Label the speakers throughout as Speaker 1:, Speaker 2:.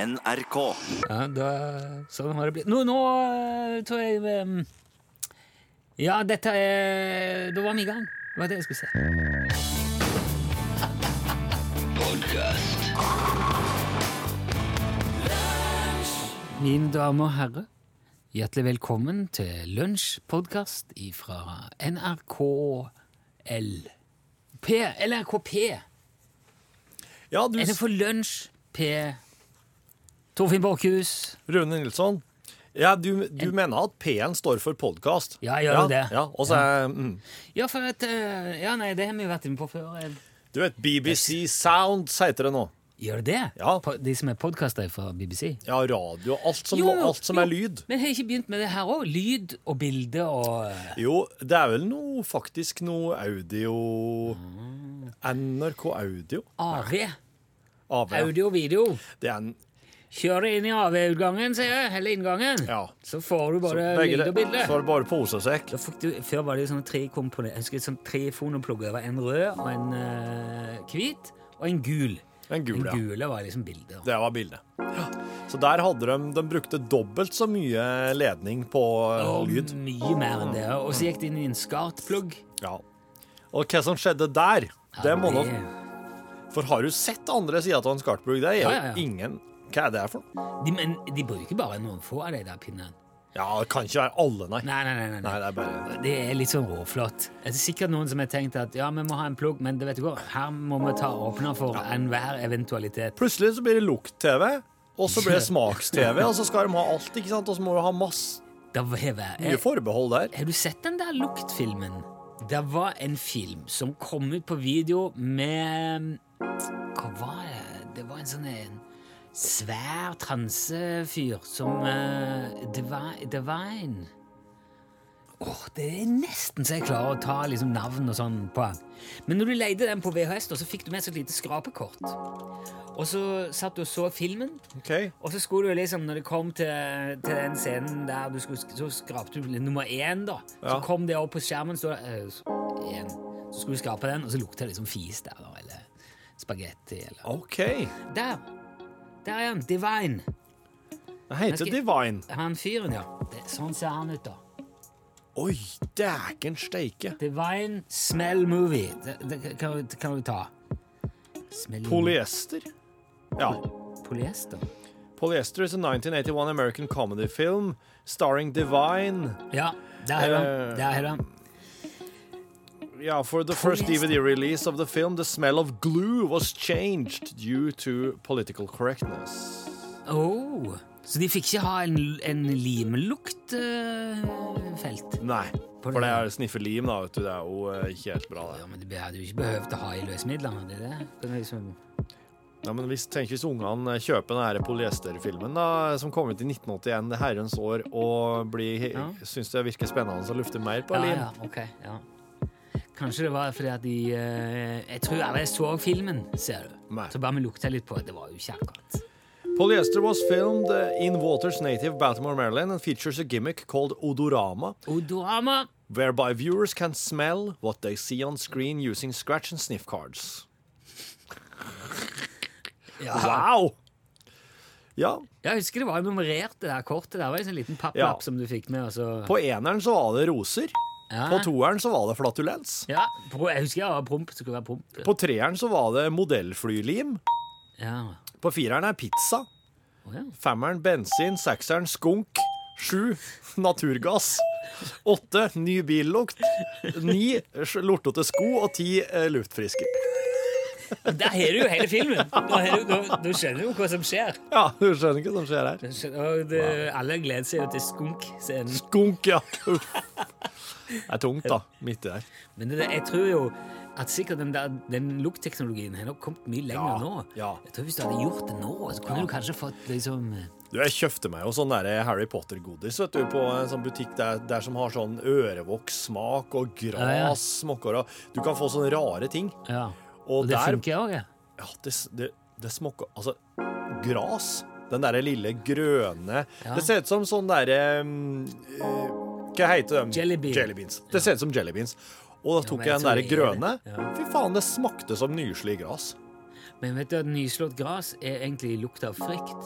Speaker 1: NRK.
Speaker 2: Ja, da, sånn har det blitt. Nå, nå eh, tror jeg eh, Ja, dette er Da var vi i gang. Det var det jeg skulle si. Mine damer og herrer, hjertelig velkommen til lunsjpodkast fra NRKL. P, eller NRKP.
Speaker 3: Ja, du,
Speaker 2: Er det for lunsj, P? Torfinn Borchhus.
Speaker 3: Rune Nilsson. Ja, du, du mener at P-en står for podkast?
Speaker 2: Ja, jeg gjør det.
Speaker 3: Ja, og så er, mm,
Speaker 2: Ja, for at eh, Ja, nei, det har vi jo vært inne på før. Eh,
Speaker 3: du vet, BBC Sounds heter det nå.
Speaker 2: Gjør det det?
Speaker 3: Ja.
Speaker 2: Po- De som er podkaster fra BBC?
Speaker 3: Ja, radio, alt som,
Speaker 2: Jo,
Speaker 3: alt som
Speaker 2: jo.
Speaker 3: er lyd.
Speaker 2: Men har jeg ikke begynt med det her òg? Lyd og bilde og eh,
Speaker 3: Jo, det er vel noe, faktisk noe audio
Speaker 2: Ah.
Speaker 3: NRK Audio.
Speaker 2: AV.
Speaker 3: AV.
Speaker 2: Audio og video.
Speaker 3: Det er en
Speaker 2: Kjør det inn i AV-utgangen, sier jeg. Eller inngangen.
Speaker 3: Ja.
Speaker 2: Så får du
Speaker 3: så
Speaker 2: bare
Speaker 3: begge
Speaker 2: lyd
Speaker 3: det-
Speaker 2: og bilde.
Speaker 3: Så er det bare posesekk.
Speaker 2: Da fikk du, før var det jo sånne tre komponenter. Jeg husker sånn tre fonoplugger. Det var En rød og en eh, hvit og en gul.
Speaker 3: En gul, ja.
Speaker 2: Den gule var liksom bildet.
Speaker 3: Det var bildet. Så der hadde de De brukte dobbelt så mye ledning på eh,
Speaker 2: Og
Speaker 3: lyd.
Speaker 2: mye mer enn det. Og så gikk det inn i en SCART-plugg.
Speaker 3: Ja. Og hva som skjedde der, det må nok For har du sett andre sider av en skartplugg? Det er
Speaker 2: Ja,
Speaker 3: jo
Speaker 2: ja, ja.
Speaker 3: ingen Hva er det for noe?
Speaker 2: De, men de bruker bare noen få av de der pinnene.
Speaker 3: Ja, det kan ikke være alle, nei.
Speaker 2: Nei, nei, nei. nei,
Speaker 3: Nei,
Speaker 2: nei.
Speaker 3: det er bare
Speaker 2: Det er litt sånn råflott. Det er sikkert noen som har tenkt at ja, vi må ha en plugg, men det vet du hva, her må vi ta åpner for enhver eventualitet.
Speaker 3: Plutselig så blir det lukt-TV, og så blir det smaks-TV, og så skal de ha alt, ikke sant? Og så må du ha masse
Speaker 2: Da var jeg, jeg,
Speaker 3: mye forbehold der.
Speaker 2: Har du sett den der luktfilmen? Det var en film som kom ut på video med Hva var det? Det var en sånn en svær transefyr som eh, Divi- Divine Åh, Det er nesten så jeg klarer å ta liksom navn og sånn på han. Men når du leide den på VHS, da, så fikk du med så et lite skrapekort. Og så satt du og så filmen,
Speaker 3: OK.
Speaker 2: og så skulle du liksom, når det kom til, til den scenen der du skulle, Så skrapte du nummer én, da. Så
Speaker 3: Ja.
Speaker 2: kom det opp på skjermen, så, eh, så, én. så skulle du skrape den, og så lukta det liksom fis der, da, eller spagetti, eller
Speaker 3: OK.
Speaker 2: Der! Der er han. Divine.
Speaker 3: Det heter
Speaker 2: skal-
Speaker 3: Divine.
Speaker 2: Han fyren, ja. Det, sånn ser han ut, da.
Speaker 3: Oi, dæken steike.
Speaker 2: Divine Smell Movie. Det, det kan, du- kan du ta. Smell
Speaker 3: Polyester. Ja.
Speaker 2: Polyester.
Speaker 3: Polyester is a 1981 American comedy film starring Divine.
Speaker 2: Ja, der er han.
Speaker 3: Eh.
Speaker 2: Der er han.
Speaker 3: Yeah, for the first
Speaker 2: Polyester.
Speaker 3: DVD release of the film, the smell of glue was changed due to political correctness.
Speaker 2: Oh, så de fikk ikke ha en, en eh, limluktfelt?
Speaker 3: Nei,
Speaker 2: På det-
Speaker 3: for det er sniffelim, da, vet du. Det er jo eh, ikke helt bra,
Speaker 2: ja,
Speaker 3: det.
Speaker 2: men de hadde jo ikke behøvd å ha i løsmidlene, hadde de det? det er liksom,
Speaker 3: Ja, men hvis, tenk hvis ungene eh, kjøper denne polyesterfilmen, da, som kom ut i 1981, det herrens år, og blir,
Speaker 2: Ja.
Speaker 3: syns det virker spennende å lufte mer på
Speaker 2: ja,
Speaker 3: lim.
Speaker 2: ja, ok, ja. Kanskje det var fordi at de eh, Jeg tror jeg bare så filmen, ser du.
Speaker 3: Nei.
Speaker 2: Så bare vi lukta litt på det. Det var jo ikke akkurat
Speaker 3: Polyester was filmed eh, in Waters native Baltimore, Maryland, and features a gimmick called odorama,
Speaker 2: Odorama!
Speaker 3: whereby viewers can smell what they see on screen using scratch and sniff cards.
Speaker 2: Ja.
Speaker 3: Wow! Ja,
Speaker 2: Jeg husker det var nummerert, det der kortet. Der var en sånn liten
Speaker 3: Ja.
Speaker 2: papplapp som du fikk med. Og så,
Speaker 3: på eneren så var det roser.
Speaker 2: ja.
Speaker 3: På toeren så var det flatulens.
Speaker 2: Ja, pro- jeg husker jeg var promp. Det skulle være promp.
Speaker 3: På treeren så var det modellflylim.
Speaker 2: Ja.
Speaker 3: På fireren er pizza.
Speaker 2: Å, ja.
Speaker 3: Femmeren bensin. Sekseren skunk. Sju naturgass. Åtte ny billukt. Ni lortete sko. Og ti eh, luftfriske.
Speaker 2: Der har du jo hele filmen! Nå, har du, nå, nå skjønner du jo hva som skjer.
Speaker 3: Ja, du skjønner ikke hva som skjer her.
Speaker 2: Jeg skjønner- Og det, alle gleder seg jo til skunkscenen.
Speaker 3: Skunk, ja. Uff. Det er tungt, da. Midt i der.
Speaker 2: Men det, jeg tror jo at sikkert den, der- den luktteknologien har nok kommet mye lenger
Speaker 3: Ja,
Speaker 2: nå.
Speaker 3: ja.
Speaker 2: Jeg tror Hvis du hadde gjort det nå, så kunne du kanskje fått liksom
Speaker 3: Du, Jeg kjøpte meg jo sånn der Harry Potter-godis vet du, på en sånn butikk der, der som har sånn ørevokssmak og
Speaker 2: Ja, ja.
Speaker 3: grassmokker. og Du kan få sånne rare ting.
Speaker 2: Ja.
Speaker 3: Og,
Speaker 2: Og det
Speaker 3: der
Speaker 2: funker òg, ja.
Speaker 3: ja, det, s- det, det smokker Altså, gras. Den derre lille grønne
Speaker 2: Ja.
Speaker 3: Det ser ut som sånn derre mm, eh, Hva heter de?
Speaker 2: Jelly bean.
Speaker 3: Jellybeans. Det ser ut som jellybeans. Og da tok
Speaker 2: men jeg
Speaker 3: jeg den derre
Speaker 2: tror det er
Speaker 3: grønne.
Speaker 2: det. Ja.
Speaker 3: Fy faen, det smakte som nyslig gras.
Speaker 2: Men vet du at nyslått gras er egentlig lukt av frykt?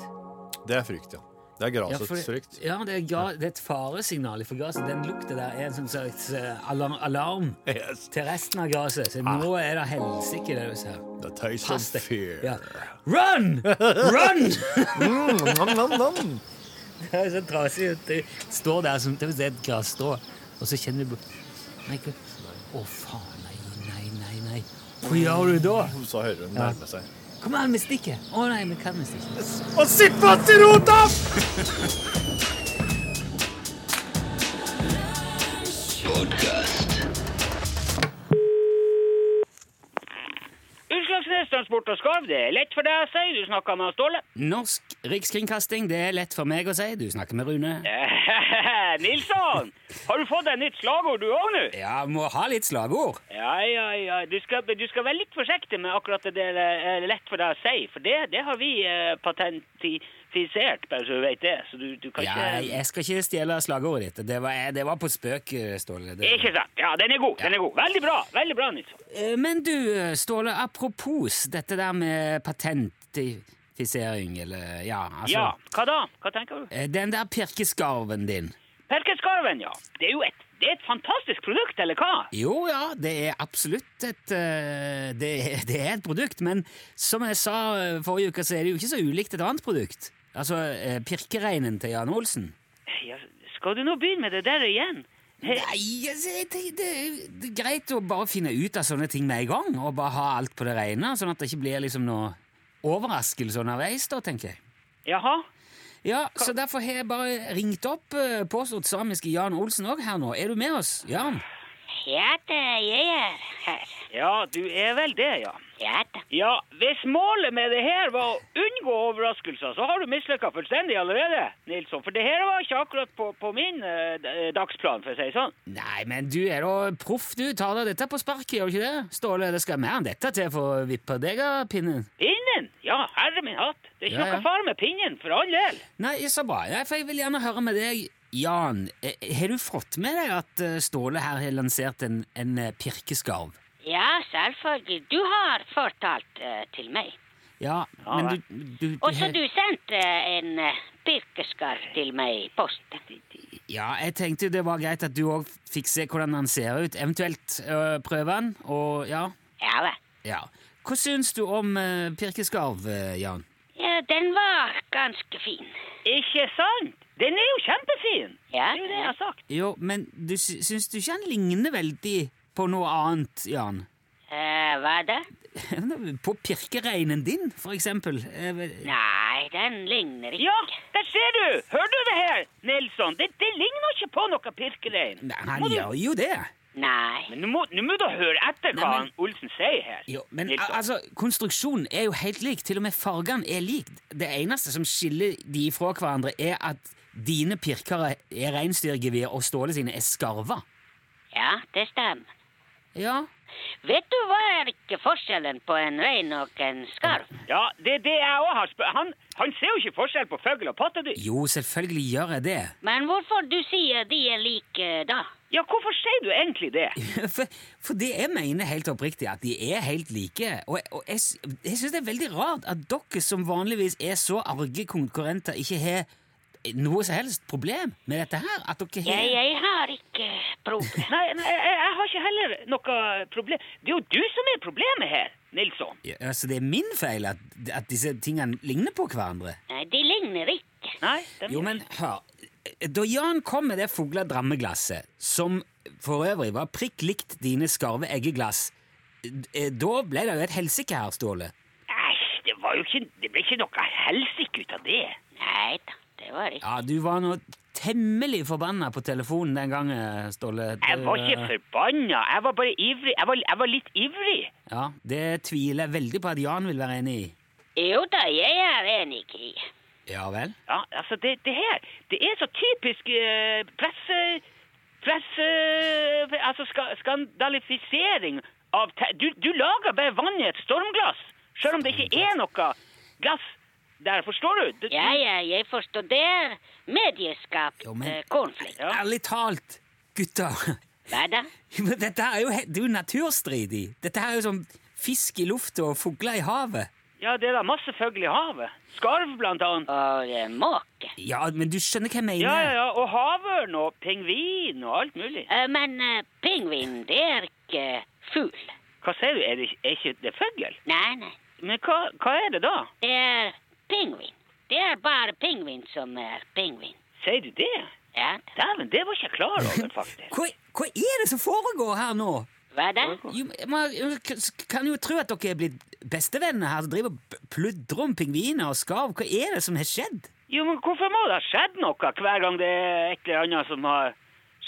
Speaker 3: Det er frykt, ja. Det er
Speaker 2: Ja,
Speaker 3: grasets
Speaker 2: for,
Speaker 3: frykt.
Speaker 2: Altså ja, det, er ga, det er et faresignal for graset. Den lukten der er en sånn slags eh, alarm, alarm
Speaker 3: Yes.
Speaker 2: til resten av graset. Så nå er det helsike, det du ser.
Speaker 3: The taste of
Speaker 2: Pass deg.
Speaker 3: fear.
Speaker 2: Ja. Run! Run!
Speaker 3: Mm, nam, nam, nam.
Speaker 2: Det er så trasig ut. Det står der som det er et grasstrå, og så kjenner du bare- Nei, gud. Å, faen. Nei, nei, nei. nei. Hva gjør du da?
Speaker 3: Så hører hun
Speaker 2: Ja.
Speaker 3: nærme seg.
Speaker 2: Kom an med stikket. Å nei, vi kan med stikket.
Speaker 3: Og sippa til rota!
Speaker 1: Utslagsnedstransport og skarv, det er lett for deg å si. Du snakker med Ståle.
Speaker 2: Norsk rikskringkasting, det er lett for meg å si. Du snakker med Rune.
Speaker 1: Nilsson, har du fått deg nytt slagord du òg nå?
Speaker 2: Ja, må ha litt slagord.
Speaker 1: Ja, ja, ja. Du skal, du skal være litt forsiktig med akkurat det der eh, lett for deg å si, for det, det har vi eh, patentifisert, bare så du vet det. Så du, du kan
Speaker 2: Ja, jeg skal ikke stjele slagordet ditt. Det var, det var på spøk, eh, Ståle.
Speaker 1: ikke
Speaker 2: Det.
Speaker 1: Ikke sant. Ja, den er god. Den er god. Veldig bra. Veldig bra, Nilsson.
Speaker 2: Eh, Men du, Ståle, apropos dette der med patentifisering, eller ja, altså
Speaker 1: Ja, hva da? Hva tenker du?
Speaker 2: Eh, Den der pirkeskarven din.
Speaker 1: Perkeskarven, ja. Det er jo et, det er et fantastisk produkt, eller hva?
Speaker 2: Jo ja, det er absolutt et eh, det, det er et produkt, men som jeg sa eh, forrige uke, så er det jo ikke så ulikt et annet produkt. Altså eh, pirkereinen til Jan Olsen.
Speaker 1: Ja, skal du nå begynne med det der igjen?
Speaker 2: Nei, altså, jeg tenker, det, er jo- det er greit å bare finne ut av sånne ting med en gang, og bare ha alt på det rene, sånn at det ikke blir liksom noe overraskelse underveis, da, tenker jeg.
Speaker 1: Jaha?
Speaker 2: Ja, så derfor har jeg bare ringt opp eh, påstått samiske Jan Olsen òg her nå. Er du med oss, Jan?
Speaker 4: Ja da, jeg er her.
Speaker 1: Ja, du er vel det, ja.
Speaker 4: Ja da.
Speaker 1: Ja, Hvis målet med det her var å unngå overraskelser, så har du mislykka fullstendig allerede. Nilsson. For det her var ikke akkurat på, på min eh, d- eh, dagsplan, for å si det sånn.
Speaker 2: Nei, men du er da proff, du. Tar da dette på sparket, gjør du ikke det? Ståle, det skal mer enn dette til for å vippe deg av pinnen.
Speaker 1: Pinnen? Ja, herre min hatt. Det er ikke
Speaker 2: Ja, ja.
Speaker 1: noe fare med pinnen, for all del.
Speaker 2: Nei, så bra. Nei, for jeg vil gjerne høre med deg, Jan. Eh, Har du fått med deg at eh, Ståle her har lansert en, en eh, pirkeskarv?
Speaker 4: Ja, selvfølgelig. Du har fortalt eh, til meg.
Speaker 2: Ja,
Speaker 1: Ja,
Speaker 2: men
Speaker 1: vel.
Speaker 2: du, du, du
Speaker 4: Og så
Speaker 2: har-
Speaker 4: du sendte en eh, pirkeskarv til meg i posten.
Speaker 2: Ja, jeg tenkte det var greit at du òg fikk se hvordan han ser ut. Eventuelt øh, prøve han, og ja.
Speaker 4: Ja vel.
Speaker 2: ja. Hva syns du om eh, pirkeskarv, eh, Jan?
Speaker 4: Ja, den var ganske fin.
Speaker 1: Ikke sant? Den er jo kjempefin!
Speaker 4: Ja,
Speaker 1: Det er jo det jeg har sagt.
Speaker 2: Jo, men du sy- syns du ikke han ligner veldig på noe annet, Jan?
Speaker 4: Eh, hva da?
Speaker 2: På pirkereinen din, for eksempel. Eh, vel-
Speaker 4: Nei, den ligner ikke.
Speaker 1: Ja, der ser du! Hører du det her, Nilsson? Det, det ligner ikke på noe pirkerein.
Speaker 2: Men han
Speaker 1: Må du-
Speaker 2: gjør jo det.
Speaker 4: Nei.
Speaker 1: Men nå må, nå må du høre etter hva
Speaker 2: Nei, men-
Speaker 1: han Olsen sier her.
Speaker 2: Jo, men al-
Speaker 1: Nilsson.
Speaker 2: altså, konstruksjonen er jo helt lik. Til og med fargene er lik. Det eneste som skiller de fra hverandre, er at dine pirkere er reinsdyrgevir, og Ståle sine er skarver.
Speaker 4: Ja, det stemmer.
Speaker 2: Ja.
Speaker 4: Vet du hva er ikke forskjellen på en rein og en skarv?
Speaker 1: Ja, det er det jeg òg har spurt. Han, han ser jo ikke forskjell på fugl og pattedyr.
Speaker 2: Jo, selvfølgelig gjør jeg det.
Speaker 4: Men hvorfor du sier de er like da?
Speaker 1: Ja, hvorfor sier du egentlig det?
Speaker 2: For, for det jeg mener helt oppriktig, at de er helt like. Og, og jeg, sy- jeg syns det er veldig rart at dere som vanligvis er så arge konkurrenter, ikke har noe som helst problem med dette her. At dere har
Speaker 4: Jeg, jeg har ikke problem.
Speaker 1: Nei, nei jeg, jeg har ikke heller noe problem. Det er jo du som er problemet her, Nilsson.
Speaker 2: Ja, altså, det er min feil at, at disse tingene ligner på hverandre.
Speaker 4: Nei, de ligner ikke.
Speaker 1: Nei, dem-
Speaker 2: Jo, men hør. Da Jan kom med det fugla drammeglasset, som for øvrig var prikk likt dine skarve eggeglass, eh, da ble det jo et helsike her, Ståle.
Speaker 1: Æsj, det var jo ikke Det ble ikke noe helsike ut av det.
Speaker 4: Nei da, det var ikke.
Speaker 2: Ja, du var nå temmelig forbanna på telefonen den gangen, Ståle. Det-
Speaker 1: Jeg var ikke forbanna. Jeg var bare ivrig. Jeg var, jeg var litt ivrig.
Speaker 2: Ja, Det tviler jeg veldig på at Jan vil være enig i.
Speaker 4: Jo da, jeg er enig i.
Speaker 2: Ja vel?
Speaker 1: Ja, altså, det, det her Det er så typisk eh, presse... Presse... Altså, ska, skandalifisering av te du, du lager bare vann i et stormglass, selv om det ikke er noe glass der, forstår du? Det,
Speaker 4: Ja, ja, jeg forstår. Det er medieskapt
Speaker 2: Jo, men-
Speaker 4: eh, konflikt.
Speaker 1: Ja.
Speaker 2: Ærlig talt, gutter.
Speaker 4: Hva da?
Speaker 2: Men Dette er jo, he- det er jo naturstridig. Dette er jo som fisk i lufta og fugler i havet.
Speaker 1: Ja, det er da masse fugl i havet. Skarv, blant annet.
Speaker 4: Og eh, måke.
Speaker 2: Ja, men du skjønner hva jeg mener.
Speaker 1: Ja, ja, ja. Og havørn og pingvin og alt mulig.
Speaker 4: Eh, Men eh, pingvin, det er ikke fugl.
Speaker 1: Hva sier du, er det, er ikke det fugl?
Speaker 4: Nei, nei.
Speaker 1: Men hva, hva er det da?
Speaker 4: Det er pingvin. Det er bare pingvin som er pingvin.
Speaker 1: Sier du det?
Speaker 4: Ja.
Speaker 1: Dæven, det var ikke jeg klar over, faktisk.
Speaker 2: Hva, hva er det som foregår her nå?
Speaker 4: Hva da?
Speaker 2: Jo, Man kan jo tro at dere er blitt bestevenner her, som driver og p- pludrer om pingviner og skarv. Hva er det som har skjedd?
Speaker 1: Jo, men hvorfor må det ha skjedd noe hver gang det er et eller annet som har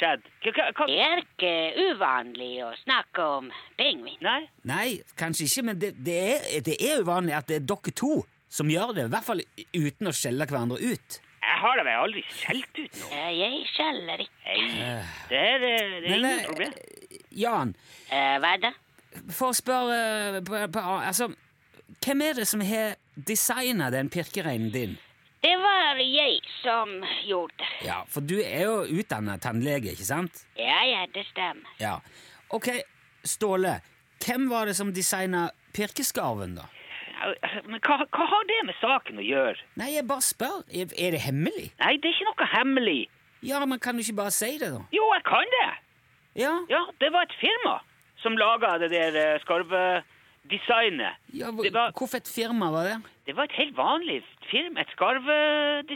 Speaker 1: skjedd? Hva, hva, hva?
Speaker 4: Det er ikke uvanlig å snakke om pingvin.
Speaker 1: Nei?
Speaker 2: Nei, kanskje ikke, men det, det, er, det er uvanlig at det er dere to som gjør det. I hvert fall uten å skjelle hverandre ut.
Speaker 1: Jeg har da vel aldri skjelt ut noe?
Speaker 4: Eh, Jeg skjeller ikke.
Speaker 1: Nei, det er, eh, det er
Speaker 2: Men,
Speaker 1: ingen
Speaker 2: eh,
Speaker 1: problem.
Speaker 2: Jan,
Speaker 4: Eh, Hva da?
Speaker 2: for å spørre eh, på, på, Altså, hvem er det som har designa den pirkereinen din?
Speaker 4: Det var jeg som gjorde det.
Speaker 2: Ja, For du er jo utdanna tannlege, ikke sant?
Speaker 4: Ja, ja, det stemmer.
Speaker 2: Ja. Ok, Ståle. Hvem var det som designa pirkeskarven, da?
Speaker 1: Ja, Men hva, hva har det med saken å gjøre?
Speaker 2: Nei, jeg bare spør. Er er det hemmelig?
Speaker 1: Nei, det er ikke noe hemmelig.
Speaker 2: Ja, men kan du ikke bare si det, da?
Speaker 1: Jo, jeg kan det.
Speaker 2: Ja,
Speaker 1: Ja, det var et firma som laga det der eh, skarvedesignet.
Speaker 2: ja hvor,
Speaker 1: Det var,
Speaker 2: Hvorfor et firma var det?
Speaker 1: det var et helt vanlig firma, et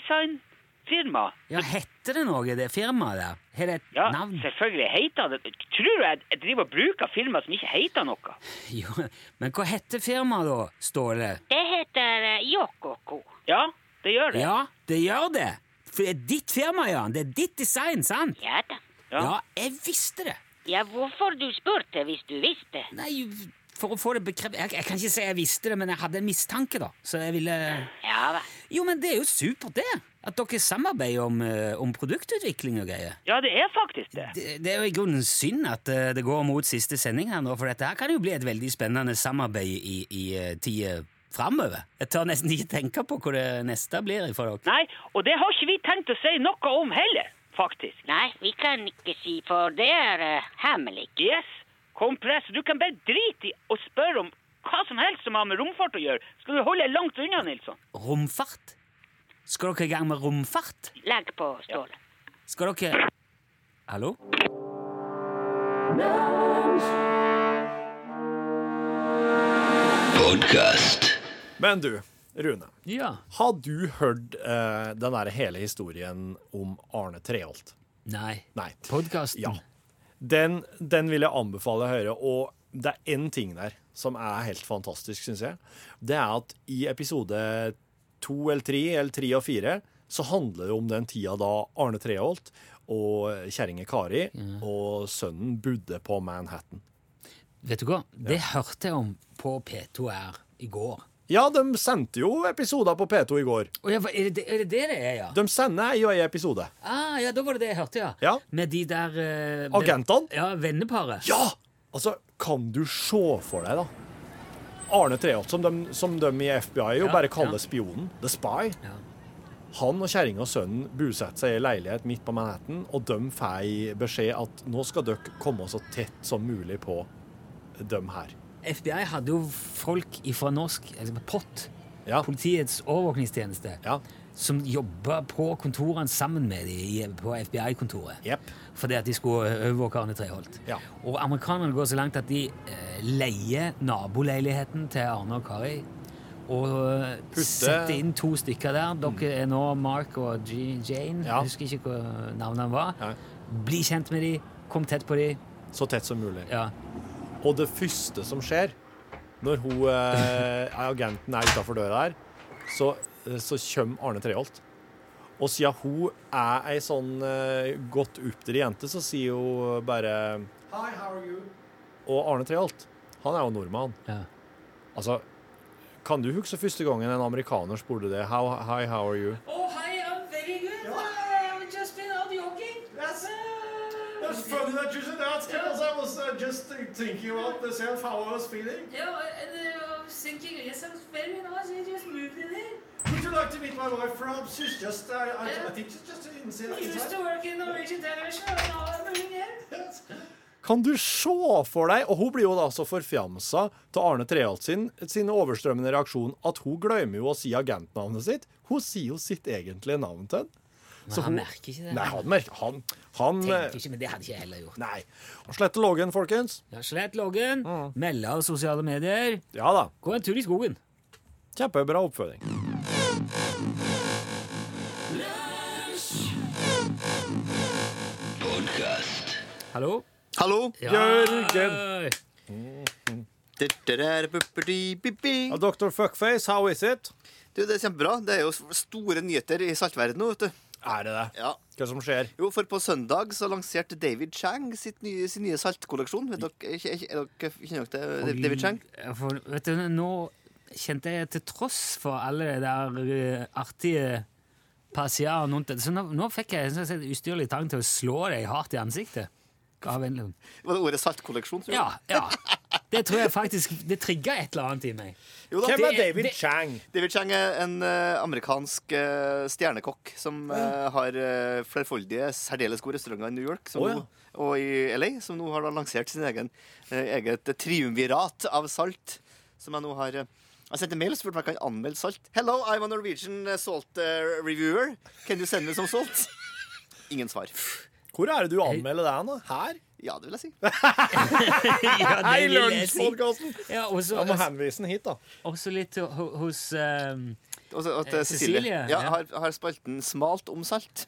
Speaker 1: skarvedesignfirma.
Speaker 2: Ja, Heter det noe, det firmaet der? Har det et
Speaker 1: Ja,
Speaker 2: navn?
Speaker 1: selvfølgelig heter det Tror du jeg jeg driver og bruker firma som ikke heter noe?
Speaker 2: Jo, men hva heter firmaet, da, Ståle?
Speaker 4: Det heter eh, Yokoko.
Speaker 1: Ja, det gjør det.
Speaker 2: Ja, det gjør det! For det er ditt firma, Jan. Det er ditt design, sant?
Speaker 4: Ja da.
Speaker 1: Ja.
Speaker 2: jeg visste det.
Speaker 4: Ja, hvorfor du spurte hvis du visste?
Speaker 2: Nei, for å få det bekreftet jeg, jeg kan ikke si jeg visste det, men jeg hadde en mistanke, da. Så jeg ville
Speaker 4: Ja, hva?
Speaker 2: Jo, men det er jo supert, det. At dere samarbeider om, eh, om produktutvikling og greier.
Speaker 1: Ja, det er faktisk det.
Speaker 2: Det, det er jo i grunnen synd at eh, det går mot siste sending her nå, for dette her kan jo bli et veldig spennende samarbeid i, i eh, tida framover. Jeg tør nesten ikke tenke på hva det neste blir for dere.
Speaker 1: Nei, og det har ikke vi tenkt å si noe om heller, faktisk.
Speaker 4: Nei, vi kan ikke si, for det er eh, hemmelig.
Speaker 1: Yes, kompress. Du kan bare drite i å spørre om hva som helst som har med romfart å gjøre. Skal du holde deg langt unna, Nilsson?
Speaker 2: Romfart? Skal dere i gang med romfart?
Speaker 4: Legg på, Ståle.
Speaker 2: Skal dere Hallo?
Speaker 3: Men du, Rune.
Speaker 2: Ja.
Speaker 3: Har du hørt eh, den der hele historien om Arne Treholt?
Speaker 2: Nei.
Speaker 3: Nei.
Speaker 2: Podkasten?
Speaker 3: Ja. Den, den vil jeg anbefale å høre, og det er én ting der som er helt fantastisk, syns jeg. Det er at i episode to eller tre, eller tre og fire, så handler det om den tida da Arne Treholt og kjerringa Kari og sønnen bodde på Manhattan.
Speaker 2: Vet du hva? Det hørte jeg om på P2R i går.
Speaker 3: Ja, de sendte jo episoder på P2 i går.
Speaker 2: Å ja, hva- er, det, er det det det er, ja?
Speaker 3: De sender ei og ei episode.
Speaker 2: Ah, ja, da var det det jeg hørte, ja.
Speaker 3: Ja.
Speaker 2: Med de der eh, ven-
Speaker 3: Agentene?
Speaker 2: Ja, venneparet.
Speaker 3: Ja! Altså, kan du se for deg, da? Arne Treholt, som, de- som de i FBI jo
Speaker 2: Ja,
Speaker 3: bare kaller
Speaker 2: ja.
Speaker 3: spionen, The Spy.
Speaker 2: Ja.
Speaker 3: Han og kjerringa og sønnen bosetter seg i ei leilighet midt på Manhattan, og de får ei beskjed at nå skal dere komme så tett som mulig på dem her.
Speaker 2: FBI hadde jo folk fra norsk altså POT,
Speaker 3: Ja.
Speaker 2: Politiets overvåkningstjeneste,
Speaker 3: Ja.
Speaker 2: som jobba på kontorene sammen med dem på FBI-kontoret.
Speaker 3: Jepp.
Speaker 2: Fordi at de skulle overvåke Arne Treholt.
Speaker 3: Ja.
Speaker 2: Og amerikanerne går så langt at de eh, leier naboleiligheten til Arne og Kari. Og
Speaker 3: Putte-
Speaker 2: setter inn to stykker der. Dere er nå Mark og G Jane.
Speaker 3: Mm. Ja.
Speaker 2: Jeg husker ikke hva navnet var.
Speaker 3: Ja.
Speaker 2: Bli kjent med dem. Kom tett på dem.
Speaker 3: Så tett som mulig.
Speaker 2: Ja.
Speaker 3: Og det første som skjer når hun, eh, agenten er utafor døra her, så, eh, så kommer Arne Treholt. Og siden hun er ei sånn eh, godt oppdrevet jente, så sier hun bare Hi, how are you? Og Arne Treholt, han er jo nordmann.
Speaker 2: Ja.
Speaker 3: Altså, kan du huske første gangen en amerikaner spurte det? How, hi, how are you?
Speaker 5: Oh, hi, I'm very good. Uh, I've just been out jogging.
Speaker 6: That's,
Speaker 5: Uh,
Speaker 6: that's funny that you should ask because I was uh, just uh, thinking about myself how I was feeling.
Speaker 5: yeah, and uh, I was thinking, yes, I'm very nice. You just moved in here.
Speaker 6: Would you like to meet my wife, Rob? She's just, uh, I, I, I think she's just inside.
Speaker 5: I used
Speaker 6: inside.
Speaker 5: to work in Norwegian television, and now I'm moving here.
Speaker 6: Yes.
Speaker 3: Kan du se for deg Og hun blir jo da så forfjamsa til Arne Treholt sin, sin overstrømmende reaksjon at hun glemmer jo å si agentnavnet sitt. Hun sier jo sitt egentlige navn til henne.
Speaker 2: Men han merker ikke det.
Speaker 3: Nei, han merker Han, han eh,
Speaker 2: Tenker ikke, men eh, det hadde ikke jeg heller gjort.
Speaker 3: Nei. Slette loggen, folkens.
Speaker 2: Ja, Slett loggen, melde av sosiale medier,
Speaker 3: Ja da.
Speaker 2: gå en tur i skogen.
Speaker 3: Kjempebra oppfølging.
Speaker 2: Hallo?
Speaker 7: Hallo?
Speaker 2: Ja.
Speaker 3: Jørgen.
Speaker 7: Dette der, buppeti, bipi.
Speaker 3: Ja, Dr. Fuckface, how is it?
Speaker 7: Du, det er kjempebra. Det er jo store nyheter i saltverdenen nå, vet du.
Speaker 3: Er det det?
Speaker 7: Ja.
Speaker 3: Hva som skjer?
Speaker 7: Jo, for på søndag så lanserte David Chang sitt nye, sin nye saltkolleksjon. Vet dere, er- er- er dere, kjenner dere til David Chang?
Speaker 2: Ja, For, vet du, nå kjente jeg til tross for alle de der eh, artige passiarene rundt det, så nå, nå fikk jeg en sånn sett ustyrlig trang til å slå deg hardt i ansiktet. Av en eller annen-
Speaker 7: Var det ordet saltkolleksjon? tror du?
Speaker 2: Ja, ja. Det tror jeg faktisk Det trigga et eller annet i meg.
Speaker 7: Jo da.
Speaker 3: Hvem er
Speaker 2: Det-
Speaker 3: David
Speaker 2: det-
Speaker 3: Chang?
Speaker 7: David Chang er en eh, amerikansk eh, stjernekokk som eh, har eh, flerfoldige, særdeles gode restauranter i New York som
Speaker 3: Å, ja.
Speaker 7: nå, og i LA, som nå har da lansert sin egen eh, eget triumvirat av salt. Som jeg nå har eh, Jeg sendte mail og spurte om jeg kan anmelde salt. Hello, I'm a Norwegian eh, salt eh, reviewer. Can you send me some salt? Ingen svar.
Speaker 3: Hvor er det du anmelder deg, da? Her?
Speaker 7: Ja, det vil jeg si.
Speaker 2: Ja, det
Speaker 3: Hei,
Speaker 2: vil jeg si.
Speaker 3: lunsjpodkasten!
Speaker 2: Ja, og så-
Speaker 3: Jeg må henvise den hit, da.
Speaker 2: også litt ho- hos eh,
Speaker 7: Og så at
Speaker 2: Eh,
Speaker 7: eh, Cecilie, ja,
Speaker 2: Cecilie, ja.
Speaker 7: har, har spalten Smalt om salt,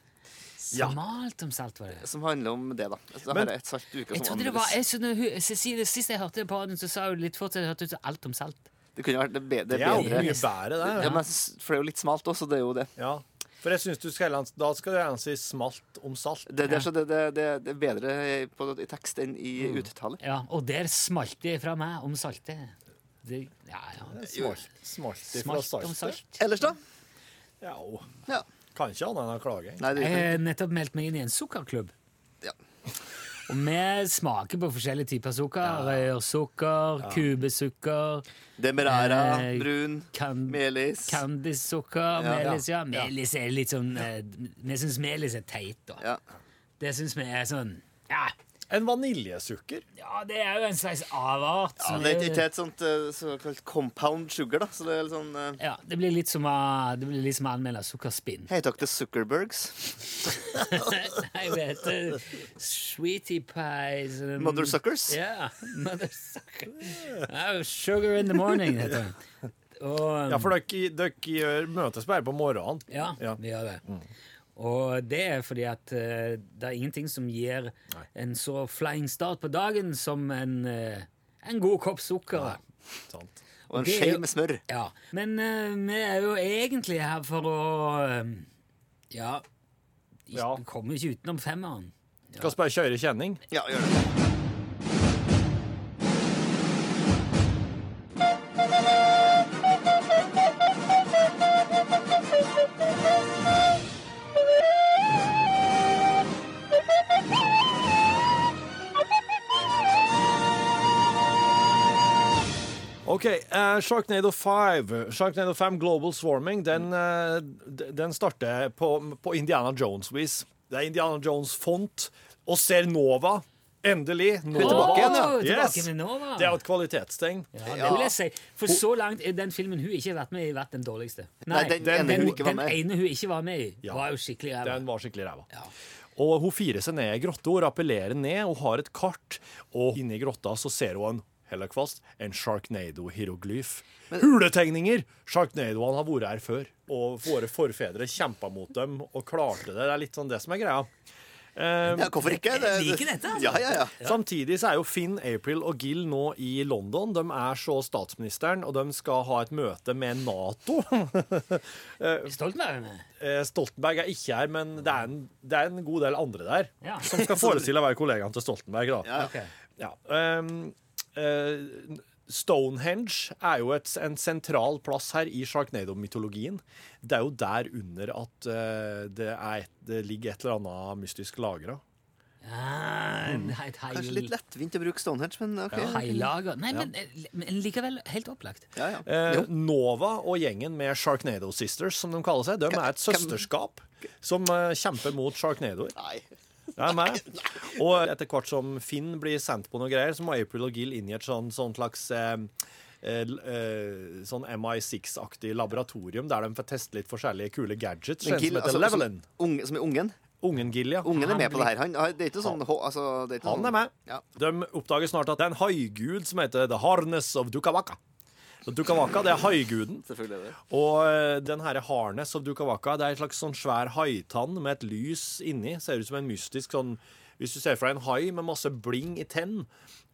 Speaker 3: Ja.
Speaker 2: Smalt om salt, var det.
Speaker 7: som handler om det, da. Så
Speaker 3: Men-
Speaker 7: har jeg et salt i uka
Speaker 2: Jeg
Speaker 7: som
Speaker 2: trodde det var
Speaker 7: anmeldes.
Speaker 2: jeg, skjønner hun- Cecilie, Sist jeg hørte på radioen, så sa hun litt fort at det hørtes ut som alt om salt.
Speaker 7: Det kunne vært det be- det
Speaker 3: Det er jo
Speaker 7: bedre.
Speaker 3: mye bedre, det.
Speaker 7: Ja, men jeg synes- for det er jo litt smalt også, det er jo det.
Speaker 3: Ja. For jeg synes du skal heller, Da skal du gjerne si smalt om salt.
Speaker 7: Det, det, er, så det, det, det, det er bedre på, i tekst enn i
Speaker 2: Mm.
Speaker 7: uttale.
Speaker 2: Ja, Og der smalt det fra meg om salte. Det, ja, ja.
Speaker 3: Smalt, smalt ifra
Speaker 2: Smalt om
Speaker 3: saltet.
Speaker 2: salt.
Speaker 7: Ellers, da?
Speaker 3: Ja, og
Speaker 7: Ja.
Speaker 3: kan ikke annet enn å klage.
Speaker 7: Nei, det
Speaker 2: Jeg
Speaker 7: er jo ikke
Speaker 2: har nettopp meldt meg inn i en sukkerklubb.
Speaker 7: Ja.
Speaker 2: Og vi smaker på forskjellige typer sukker. Rørsukker, kubesukker,
Speaker 7: Demerara,
Speaker 2: Eh,
Speaker 7: brun,
Speaker 2: kan-
Speaker 7: melis. Ja.
Speaker 2: candysukker, melis ja. Melis er litt sånn eh, Vi syns melis er teit, da.
Speaker 7: Ja.
Speaker 2: Det syns vi er sånn ja,
Speaker 3: En vaniljesukker.
Speaker 2: ja, det er jo en slags avart.
Speaker 7: Ja,
Speaker 2: som
Speaker 7: det
Speaker 2: er-
Speaker 7: er ikke et sånt eh, såkalt compound sugar, da. Så det er litt sånn eh,
Speaker 2: Ja, det blir litt som å, det blir litt som å anmelde sukkerspinn.
Speaker 7: Hei takk til Zuckerbergs.
Speaker 2: Nei, det heter Sweetie Pies um,
Speaker 7: Mother Suckers.
Speaker 2: Ja, Mother Sucker. Ja, Oh, Sugar in the Morning heter den. Og,
Speaker 3: Ja, for dere, dere gjør- møtes bare på morgenen.
Speaker 2: ja,
Speaker 3: Ja. Mm.
Speaker 2: vi gjør det. Og det er fordi at eh, det er ingenting som gir en så flying start på dagen som en, eh, en god kopp sukker.
Speaker 3: Sant.
Speaker 7: Og en
Speaker 2: Det er
Speaker 7: skje
Speaker 2: jo-
Speaker 7: med smør.
Speaker 2: Ja, men eh, vi er jo egentlig her for å eh, Ja, ikke,
Speaker 3: Ja.
Speaker 2: vi kommer jo ikke utenom femmeren.
Speaker 3: Skal bare kjøre kjenning.
Speaker 7: Ja, gjør det.
Speaker 3: OK. eh, Sharknado 5 Sharknado 5 Global Swarming Den, eh, d- den starter på, på Indiana Jones-vis. Det er Indiana Jones-font. Og ser Nova. Endelig. Nova.
Speaker 7: tilbake igjen, ja.
Speaker 2: Åh, tilbake
Speaker 3: Yes.
Speaker 2: med Nova.
Speaker 3: Det er jo et kvalitetstegn.
Speaker 2: Ja, det vil jeg si. For så langt er den filmen hun ikke har vært med i, vært den dårligste.
Speaker 7: Nei, den ene hun ikke var
Speaker 2: den
Speaker 7: med i.
Speaker 2: ene hun ikke var med i,
Speaker 3: Ja.
Speaker 2: var jo skikkelig ræva.
Speaker 3: Den var skikkelig ræva.
Speaker 2: Ja.
Speaker 3: Og hun firer seg ned i grotta, hun rappellerer ned, hun har et kart, og inni grotta så ser hun en heller kvast, en sharknado-hieroglyf. Huletegninger! Sharknadoene har vært her før, og våre forfedre kjempa mot dem og klarte det. Det er litt sånn det som er greia.
Speaker 7: Ja, hvorfor ikke?
Speaker 2: Jeg liker dette, altså.
Speaker 7: Ja, ja, ja.
Speaker 3: Samtidig så er jo Finn, April og Gill nå i London. De er så statsministeren, og de skal ha et møte med Nato.
Speaker 2: Stoltenberg er med.
Speaker 3: Eh, Stoltenberg er ikke her, men det er en, det er en god del andre der.
Speaker 2: Ja.
Speaker 3: Som skal forestille å være kollegaen til Stoltenberg, da.
Speaker 7: Ja.
Speaker 2: Ok.
Speaker 3: Ja. ehm, eh, Stonehenge er jo et, en sentral plass her i Sharknado-mytologien. Det er jo der under at eh, det, er et, det ligger et eller annet mystisk lagra.
Speaker 2: Ah, et heil-
Speaker 7: Mm. Kanskje litt lettvint å bruke Stonehenge, men OK.
Speaker 2: heilager. Nei, men, eh, men likevel helt opplagt.
Speaker 7: Ja, ja.
Speaker 3: Eh, Nova og gjengen med Sharknado Sisters, som de kaller seg, de er et
Speaker 7: Hvem-
Speaker 3: søsterskap som eh, kjemper mot sharknadoer.
Speaker 7: Nei.
Speaker 3: Det er meg. Og etter hvert som Finn blir sendt på noen greier, så må April og Gill inn i et sånn, sånn slags eh, eh, l- eh, sånn MI6-aktig laboratorium der de får teste litt forskjellige kule gadgets.
Speaker 7: Men
Speaker 3: En
Speaker 7: Gil,
Speaker 3: som heter
Speaker 7: altså,
Speaker 3: Levelin.
Speaker 7: som, unge, som er ungen?
Speaker 3: Ungen Gill, ja.
Speaker 7: Ungen
Speaker 2: Han
Speaker 7: er med på
Speaker 2: blir-
Speaker 7: det her. Han, han- det er ikke sånn, hå- altså, det er ikke
Speaker 3: Han
Speaker 7: sånn,
Speaker 3: er med.
Speaker 7: Ja.
Speaker 3: De oppdager snart at det er en haigud som heter The Harness of Dukawaka. Så Dukawaka, det er haiguden.
Speaker 7: Selvfølgelig er det.
Speaker 3: Og eh, den herre harness of Dukawaka, det er en slags sånn svær haitann med et lys inni. Ser ut som en mystisk sånn Hvis du ser for deg en hai med masse bling i tenn,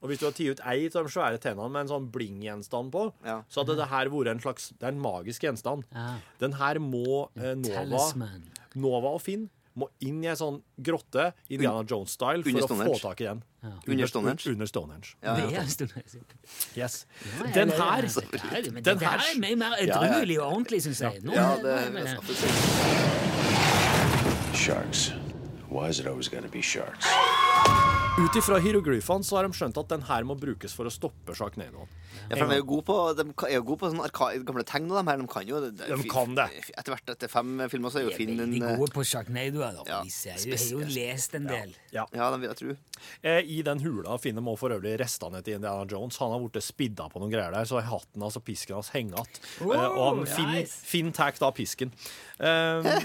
Speaker 3: og hvis du har tatt ut ei av de svære tennene med en sånn blinggjenstand på,
Speaker 7: Ja.
Speaker 3: så hadde det her vært en slags Det er en magisk gjenstand.
Speaker 2: Ja.
Speaker 3: Den her må eh, Nova,
Speaker 2: Talisman.
Speaker 3: Nova og Finn må inn i ei sånn grotte, Indiana Jones-style, for
Speaker 7: under
Speaker 3: å få
Speaker 7: Stonehenge.
Speaker 3: tak i den.
Speaker 7: Under Stonehenge.
Speaker 3: Under Stonehenge.
Speaker 7: Ja,
Speaker 2: Det
Speaker 7: ja.
Speaker 2: er en stund siden.
Speaker 3: Yes.
Speaker 2: Ja,
Speaker 3: Den
Speaker 2: ja, ja,
Speaker 3: her
Speaker 2: ja, ja, men
Speaker 3: den
Speaker 2: Det her
Speaker 3: her-
Speaker 2: er mye mer
Speaker 3: ja.
Speaker 2: edruelig og ordentlig, syns jeg. Nå,
Speaker 7: ja,
Speaker 2: nå
Speaker 7: det
Speaker 2: er vi-
Speaker 8: Sharks. Why is it always got to be sharks?
Speaker 3: Ut ifra hieroglyfene så har de skjønt at den her må brukes for å stoppe Sharknado.
Speaker 7: Ja, for de er jo gode på, de ka- er jo gode på sånne arka, gamle tegn, og de her. De kan jo det. det er
Speaker 3: De
Speaker 7: fi-
Speaker 3: kan det.
Speaker 7: fi- Etter hvert, etter fem filmer, så er
Speaker 2: De
Speaker 7: jo
Speaker 2: er
Speaker 7: Finn en
Speaker 2: veldig
Speaker 7: eh,
Speaker 2: gode på Sharknado. da.
Speaker 7: ja,
Speaker 2: De ser jo, har jo
Speaker 7: spesielt.
Speaker 2: lest en del.
Speaker 7: Ja, de vil jeg tro.
Speaker 3: Eh, I den hula finner man for øvrig restene til Indiana Jones. Han har blitt spidda på noen greier der, så hatten hans og pisken hans henger igjen. Eh, og han,
Speaker 2: Oh,
Speaker 3: Finn,
Speaker 2: nice.
Speaker 3: Finn tar da pisken. Eh,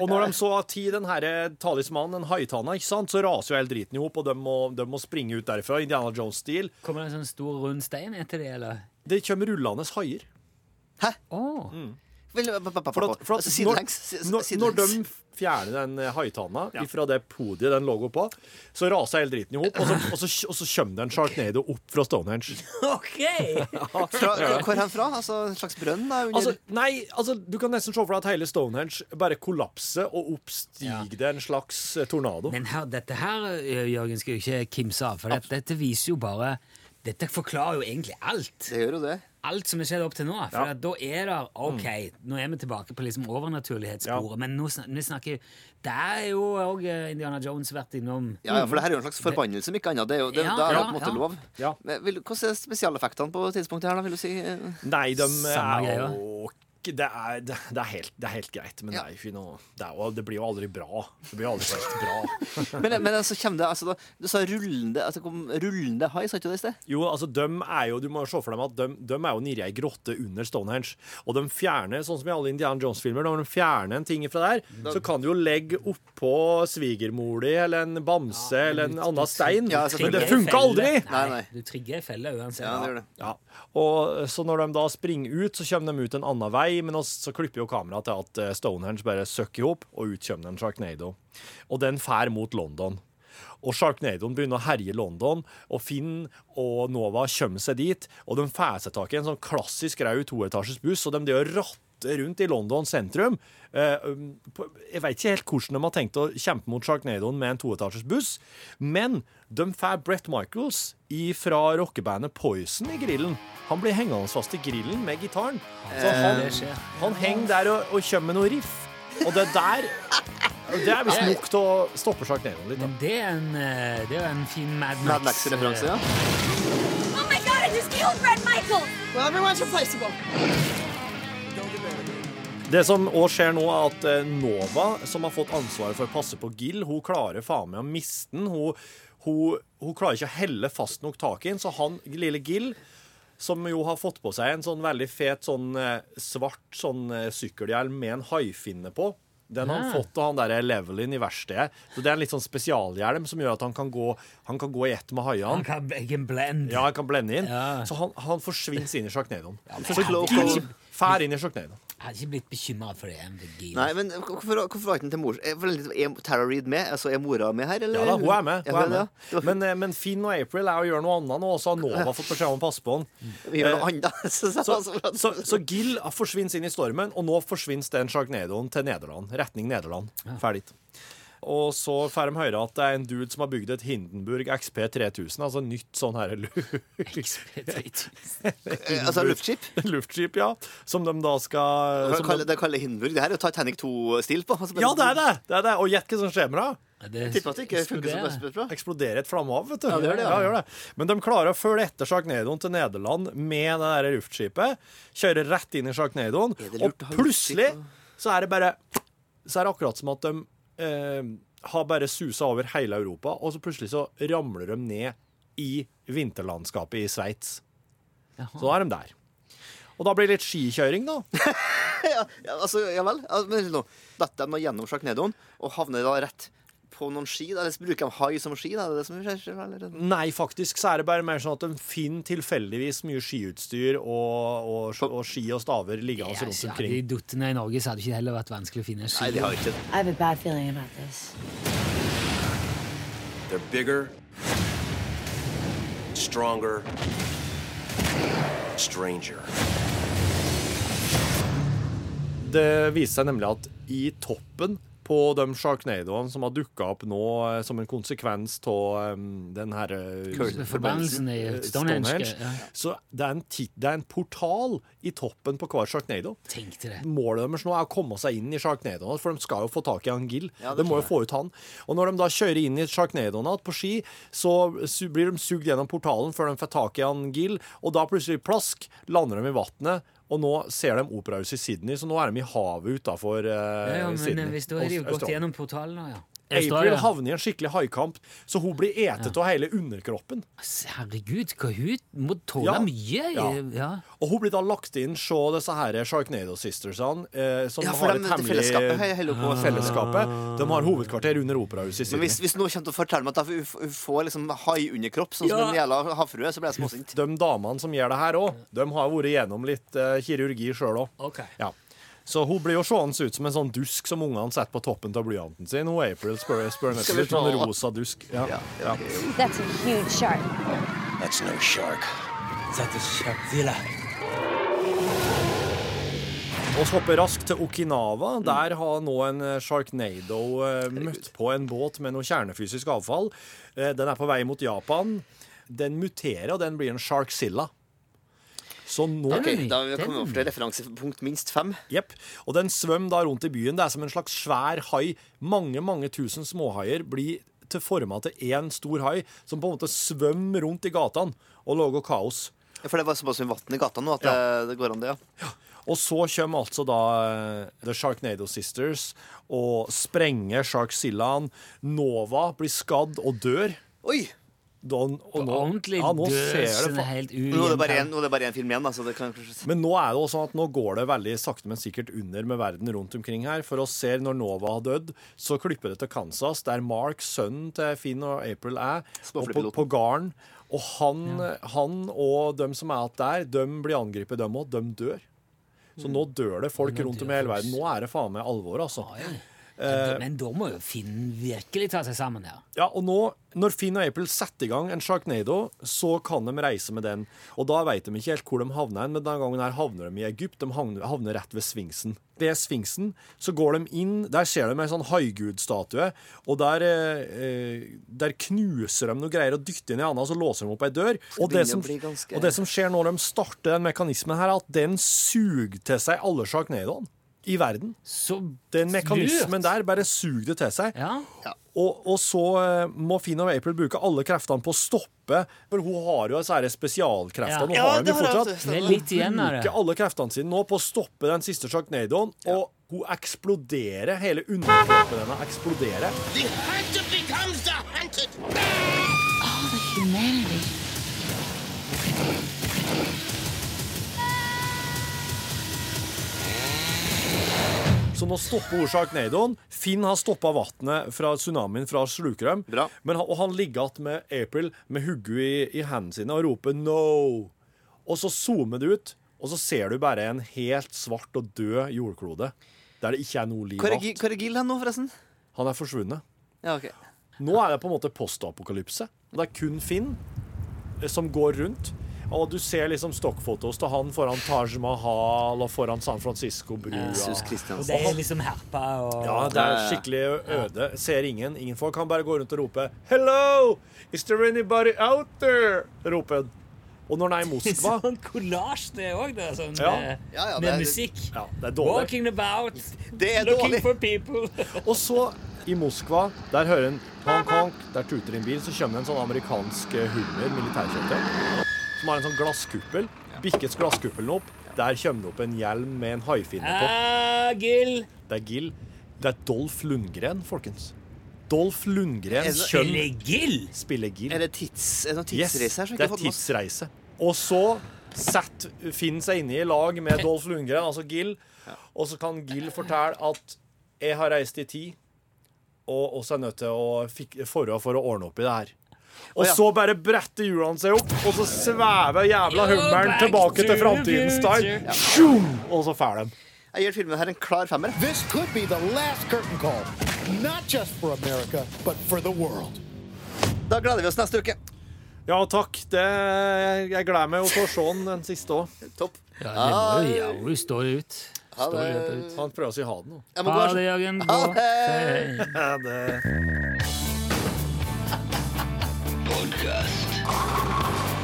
Speaker 3: og når de så ti den herre talismanen, den haitanna, ikke sant, så raser jo hele driten i hop, og de må, de må springe ut derfra, Indiana Jones-stil.
Speaker 2: Kommer det en sånn stor, rund stein etter det, eller?
Speaker 3: Det kommer rullende haier.
Speaker 2: Åh,
Speaker 7: Mm. Vel, ba- ba- ba-
Speaker 3: For at, for
Speaker 7: altså,
Speaker 3: at når,
Speaker 7: sidelengs. si- si-
Speaker 3: når, når de
Speaker 7: sidelengs.
Speaker 3: fjerner den eh, haitanna fra det podiet den lå på, så raser hele driten i hop, og, så- og, så- og så kommer det en sjarknado opp fra Stonehenge.
Speaker 2: OK!
Speaker 7: Fra, hvor er han fra? Altså en slags brønn? da under...
Speaker 3: Altså, nei, altså, du kan nesten se for deg at hele Stonehenge bare kollapser, og oppstiger det en slags eh, tornado.
Speaker 2: Men her, dette her, eh, Jørgen, skal jo ikke kimse av, for dette, dette viser jo bare Dette forklarer jo egentlig alt.
Speaker 7: Det gjør jo det.
Speaker 2: Alt som er skjedd opp til nå. For at da er det OK, nå er vi tilbake på liksom overnaturlighetssporet, men nå snak, vi snakker Der er jo òg Indiana Jones vært innom.
Speaker 7: Ja, ja, for det her er jo en slags forbannelse, om ikke annet. Det er jo det,
Speaker 2: Ja,
Speaker 7: da er det
Speaker 2: ja,
Speaker 7: på en
Speaker 2: ja.
Speaker 7: måte lov.
Speaker 3: Ja.
Speaker 7: Men, vil, hvordan er spesialeffektene på tidspunktet her, da, vil du si? Eh,
Speaker 3: Nei, de
Speaker 2: Samme
Speaker 3: er
Speaker 2: greia.
Speaker 3: jo ikke- det er, det, det, er helt, det er helt greit, men det, er jo ikke noe, det, er jo, det blir jo aldri bra. Det blir jo aldri helt bra.
Speaker 7: Men, men altså, kommer det altså, da, Du sa rullende at det kom rullende hai, sa ikke du det i sted?
Speaker 3: Jo, altså, de er jo, Du må jo se for dem at de, de er jo nede i ei grotte under Stonehenge. Og de fjerner, sånn som i alle Indiana Jones-filmer, når de fjerner en ting fra der, så kan du jo legge oppå svigermor di eller en bamse eller en annen stein.
Speaker 7: sånn- Ja,
Speaker 3: men
Speaker 7: selvfølgelig.
Speaker 2: Trigger
Speaker 3: det
Speaker 2: i
Speaker 3: funker aldri!
Speaker 2: felle. Nei,
Speaker 7: Nei, nei.
Speaker 2: Du trigger ei felle uansett.
Speaker 7: Ja, det gjør det.
Speaker 3: Ja, og eh, Så når de da springer ut, så kommer de ut en annen vei, men oss- så klipper jo kameraet til at eh, Stonehenge bare søkker i hop, og ut kommer det en Sharknado. Og den fær mot London. Og Sharknadoen begynner å herje London, og Finn og Nova kommer seg dit, og de får seg tak i en sånn klassisk grau toetasjes buss, og de det å ratte rundt i London sentrum. Eh, um, på- Jeg vet ikke helt hvordan de har tenkt å kjempe mot Sharknadoen med en toetasjes buss, men de får Brett Michaels fra rockebandet Poison i grillen. Han blir hengende fast i grillen med gitaren. Så
Speaker 2: Eh, det
Speaker 3: han,
Speaker 2: skjer.
Speaker 3: han henger der og, og kommer med noe riff. Og det der Det er
Speaker 2: Eh.
Speaker 3: visst nok til å stoppe Sharknadoen litt. da.
Speaker 2: Men det er en, eh, det er jo en fin Mad Max. eh,
Speaker 7: Mad Max-referanse, ja.
Speaker 9: Oh my god, I just killed Red Michael!
Speaker 10: Well, everyone's replaceable.
Speaker 3: Det som òg skjer nå, er at eh, Nova, som har fått ansvaret for å passe på Gill, hun klarer faen meg å miste den. Hun, hun, hun klarer ikke å helle fast nok tak i den, så han lille Gill som jo har fått på seg en sånn veldig fet sånn eh, svart sånn eh, sykkelhjelm med en haifinne på. Den har han fått av han der eh, Levelin i verkstedet. Så det er en litt sånn spesialhjelm som gjør at han kan gå, han kan gå i ett med
Speaker 2: Han
Speaker 3: haiene.
Speaker 2: kan jeg kan blend.
Speaker 3: Ja, han kan blende inn.
Speaker 2: Ja.
Speaker 3: Så han, han forsvinner inn i sjarknadoen.
Speaker 7: Så klok og-
Speaker 3: Fær inn i sjarknadoen.
Speaker 2: Jeg hadde ikke blitt bekymra for det. MVG.
Speaker 7: Nei, men hvorfor, hvorfor var ikke den til mor? Er, er Tara Reid med? Altså, er mora med her, eller?
Speaker 3: Ja da, hun er med. Hun er
Speaker 7: det, ja.
Speaker 3: med. Men, eh, men Finn og April er å gjøre noe annet nå, og så har Nova fått beskjed om å passe på han.
Speaker 7: Vi gjør noe annet. Så, altså, så,
Speaker 3: eh, Så,
Speaker 7: så,
Speaker 3: så, så Gill forsvinner inn i stormen, og nå forsvinner den sjarknadoen til Nederland. Retning Nederland. Ferdig. Og så får de høre at det er en dude som har bygd et Hindenburg XP 3000, altså nytt sånn her
Speaker 7: eh, altså, luftskip?
Speaker 3: luftskip, ja, som de da skal
Speaker 7: Det
Speaker 3: som
Speaker 7: kaller,
Speaker 3: de,
Speaker 7: det kaller Hindenburg. Det her er jo Titanic 2-stil på. Altså, men-
Speaker 3: Ja, det er det! det, er det. Og gjett hva som skjer med det?
Speaker 2: Det
Speaker 7: Tipper at det ikke funker som
Speaker 2: eksploderer.
Speaker 7: best bra.
Speaker 3: eksploderer et flammehav, vet du.
Speaker 7: Ja, det gjør det, ja.
Speaker 3: gjør det. Men de klarer å følge etter Sharknadoen til Nederland med det der luftskipet. Kjører rett inn i Sharknadoen,
Speaker 7: Er det lurt
Speaker 3: og
Speaker 7: å ha luftskip
Speaker 3: plutselig
Speaker 7: og-
Speaker 3: så er det bare Så er det akkurat som at de eh, har bare susa over hele Europa, og så plutselig så ramler de ned i vinterlandskapet i Sveits. Så da er de der. Og da blir det litt skikjøring, da.
Speaker 7: Ja, altså, ja vel. Altså, men nå, Dette er nå gjennom sjaknedoen og havner da rett på noen ski. da. Eller så bruker de hai som ski? da, Er det det som skjer? Eller?
Speaker 3: Nei, faktisk så er det bare mer sånn at de finner tilfeldigvis mye skiutstyr og, og, og ski og staver liggende
Speaker 2: Ja,
Speaker 3: altså, rundt
Speaker 2: så hadde de
Speaker 3: omkring.
Speaker 2: datt ned i Norge, så hadde det ikke heller vært vanskelig å
Speaker 7: Nei,
Speaker 2: finne ski.
Speaker 7: de har ikke det.
Speaker 9: I have a bad feeling about this.
Speaker 8: They're bigger, stronger, stranger.
Speaker 3: Det viser seg nemlig at i toppen på de sjarknadoene som har dukka opp nå eh, som en konsekvens av um, den herre
Speaker 2: Forbannelsen i Stonehenge. Ja,
Speaker 3: Så det er, en ti det er en portal i toppen på hver sjarknado.
Speaker 2: tenkte det.
Speaker 3: Målet deres nå er å komme seg inn i sjarknadoen, for de skal jo få tak i han Gill.
Speaker 7: Ja, det
Speaker 3: de må jo få ut han. Og når de da kjører inn i sjarknadoen igjen på ski, så su blir de sugd gjennom portalen før de får tak i han Gill, og da plutselig plask lander de i vannet. Og nå ser de operahuset i Sydney, så nå er de i havet utafor eh,
Speaker 2: Ja, ja, men eh,
Speaker 3: Sydney.
Speaker 2: hvis da har de jo
Speaker 3: Aust-
Speaker 2: gått
Speaker 3: Australia.
Speaker 2: gjennom portalen nå, ja.
Speaker 3: April havner i en skikkelig haikamp, så hun blir etet av hele underkroppen.
Speaker 2: Altså, Herregud, hva hun må tåle
Speaker 3: Ja.
Speaker 2: mye. Ja.
Speaker 3: Ja.
Speaker 2: Ja.
Speaker 3: Og hun blir da lagt inn se disse her Sharknado Sistersene, eh, som
Speaker 7: Ja, for
Speaker 3: har
Speaker 7: dem- det
Speaker 3: et hemmelig
Speaker 7: fellesskapet he- holder på.
Speaker 3: fellesskapet. De har hovedkvarter under operahuset i
Speaker 7: Men
Speaker 3: Sydney.
Speaker 7: hvis, hvis noen kommer til å fortelle meg at hun f- hun får liksom hai-underkropp, sånn som
Speaker 2: Ja.
Speaker 7: en jævla havfrue, så blir jeg småsint.
Speaker 3: De damene som gjør det her òg, de har vært gjennom litt eh, kirurgi sjøl òg.
Speaker 2: Ok.
Speaker 3: Ja. Så hun blir jo seende ut som en sånn dusk som ungene setter på toppen av blyanten sin. Hun April spør, spør
Speaker 7: Skal vi
Speaker 3: litt sånn
Speaker 7: ta-
Speaker 3: rosa dusk. Ja.
Speaker 7: Ja,
Speaker 3: Ja.
Speaker 9: That's a huge shark.
Speaker 8: That's no shark.
Speaker 3: Og så hoppe raskt til Okinawa. Der har nå en eh, Sharknado eh, møtt på en båt med noe kjernefysisk avfall. Eh, Den er på vei mot Japan. Den muterer, og den blir en Sharkzilla. Så nå
Speaker 7: Ok,
Speaker 2: Den er ny.
Speaker 7: Da har vi
Speaker 2: Den
Speaker 7: kommet
Speaker 2: er
Speaker 7: opp til referansepunkt minst fem.
Speaker 3: Jepp. Og den svømmer da rundt i byen. Det er som en slags svær hai. Mange, mange tusen småhaier blir til forma til én stor hai, som på en måte svømmer rundt i gatene og lager kaos.
Speaker 7: For det var såpass mye vann i gata nå at det, det går an, det, ja.
Speaker 3: Og så kommer altså da eh, The Sharknado Sisters og sprenger Sharkzillaen. Nova blir skadd og dør.
Speaker 7: Oi!
Speaker 3: Don, og nå,
Speaker 2: Ordentlig
Speaker 3: ja, nå ser det
Speaker 2: døsende,
Speaker 3: fa-
Speaker 2: helt
Speaker 7: Nå er det bare en-
Speaker 2: ujevnt.
Speaker 7: nå er det bare én film igjen, da, så det kan kanskje
Speaker 3: Men nå er det også sånn at nå går det veldig sakte, men sikkert under med verden rundt omkring her. For oss ser når Nova har dødd, så klipper det til Kansas, der Mark, sønnen til Finn og April, er. Og på,
Speaker 7: Småflypiloten.
Speaker 3: på garden. Og han, han og dem som er igjen der, dem blir angrepet, dem òg. Dem dør. Så nå dør det folk rundt om i hele verden. Nå er det faen meg alvor, altså. eh,
Speaker 2: Men da må jo Finn virkelig ta seg sammen her.
Speaker 3: Ja, og nå, når Finn og April setter i gang en Sharknado, så kan de reise med den. Og da vet de ikke helt hvor de havner, hen, men denne gangen her havner de i Egypt. De havner, havner rett ved Sfinksen. Ved Sfinksen så går de inn, der ser de en sånn haigudstatue, og der, eh, eh, der knuser de noe greier og dytter inn i annet, og så låser de opp ei dør. Og det,
Speaker 7: begynner
Speaker 3: som,
Speaker 7: å bli ganske-
Speaker 3: og det som skjer når de starter den mekanismen her, er at den suger til seg alle Sharknadoene i verden.
Speaker 2: Så
Speaker 3: Den mekanismen
Speaker 2: lurt.
Speaker 3: der bare suger det til seg.
Speaker 2: Ja.
Speaker 3: Og, og så eh, må Finn og April bruke alle kreftene på å stoppe, for hun har jo disse her spesialkreftene.
Speaker 2: Ja.
Speaker 3: Hun
Speaker 7: Ja,
Speaker 3: har
Speaker 7: det
Speaker 3: dem jo
Speaker 7: har jeg
Speaker 3: fortsatt.
Speaker 7: også.
Speaker 2: Det er litt igjen av det.
Speaker 3: Bruker alle kreftene sine nå på å stoppe den siste sjaknadoen, og hun eksploderer. Hele underkroppen hennes eksploderer. Så nå stopper hun sjarknadoen. Finn har stoppa vannet fra tsunamien fra å sluke dem.
Speaker 7: Bra.
Speaker 3: Men han, og han ligger igjen med April med hodet i, i hendene sine og roper 'no'. Og så zoomer du ut, og så ser du bare en helt svart og død jordklode. Der det ikke er noe liv
Speaker 7: Hvor er
Speaker 3: igjen.
Speaker 7: Gi- hvor er Gil hen nå, forresten?
Speaker 3: Han er forsvunnet.
Speaker 7: Ja, ok.
Speaker 3: Nå er det på en måte postapokalypse. Og Det er kun Finn eh, som går rundt. Og du ser liksom stokkfotos til han foran Taj Mahal og foran San Francisco-brua.
Speaker 7: Jesus
Speaker 2: Og
Speaker 7: Kristiansen.
Speaker 2: det er liksom herpa og
Speaker 3: Ja, det er skikkelig øde. Ser ingen. Ingen folk kan bare gå rundt og rope 'Hello! Is there anybody out there?' roper han. Og når han er i Moskva
Speaker 2: Sånn kollasj, det òg, det. Sånn,
Speaker 3: Ja.
Speaker 2: med-
Speaker 7: Ja, ja, det
Speaker 2: med
Speaker 7: er-
Speaker 2: musikk.
Speaker 3: Ja, det er dårlig.
Speaker 2: Walking about,
Speaker 7: Det er
Speaker 2: looking
Speaker 7: dårlig.
Speaker 2: for people.
Speaker 3: Og så, i Moskva, der hører en honk-honk, der tuter en bil, så kommer det en sånn amerikansk hummer, militærkjøretøy, som har en sånn glasskuppel. Bikkes glasskuppelen opp. Der kommer det opp en hjelm med en haifinne på.
Speaker 2: Ah, Gill.
Speaker 3: Det er Gill. Det er Dolph Lundgren, folkens. Dolf Lundgrens
Speaker 7: Er
Speaker 3: kjønn
Speaker 2: Gild!
Speaker 3: spiller Gil.
Speaker 7: Er det tids, er det noen
Speaker 3: Yes,
Speaker 7: tidsreise her? som
Speaker 3: det
Speaker 7: ikke
Speaker 3: er
Speaker 7: har fått med oss?
Speaker 3: tidsreise. Og så setter Finn seg inne i lag med Dolf Lundgren, altså Gil, og så kan Gil fortelle at 'jeg har reist i tid', og oss er nødt til å fik- forå for å ordne opp i det her. Og
Speaker 7: ja.
Speaker 3: så bare bretter hjulene seg opp, og så svever jævla hummeren tilbake til framtidens time. Tjum! Og så fær den.
Speaker 7: Jeg gir filmen her en klar femmer.
Speaker 10: This could be the last curtain call, not just for America, but for the world.
Speaker 7: Da gleder vi oss neste uke.
Speaker 3: Ja, takk. Det, jeg, jeg gleder meg jo til å se den den siste òg.
Speaker 7: Topp.
Speaker 2: Ja, det må jo jævlig stå ut.
Speaker 7: Ah. Ha
Speaker 2: Står
Speaker 7: det.
Speaker 2: løpet ut.
Speaker 3: Han prøver å si ha det nå.
Speaker 7: Jeg må
Speaker 2: Ha
Speaker 7: gå her.
Speaker 2: det, Jørgen.
Speaker 7: Ha
Speaker 2: Gå.
Speaker 7: det.
Speaker 2: Hei.
Speaker 8: Podcast.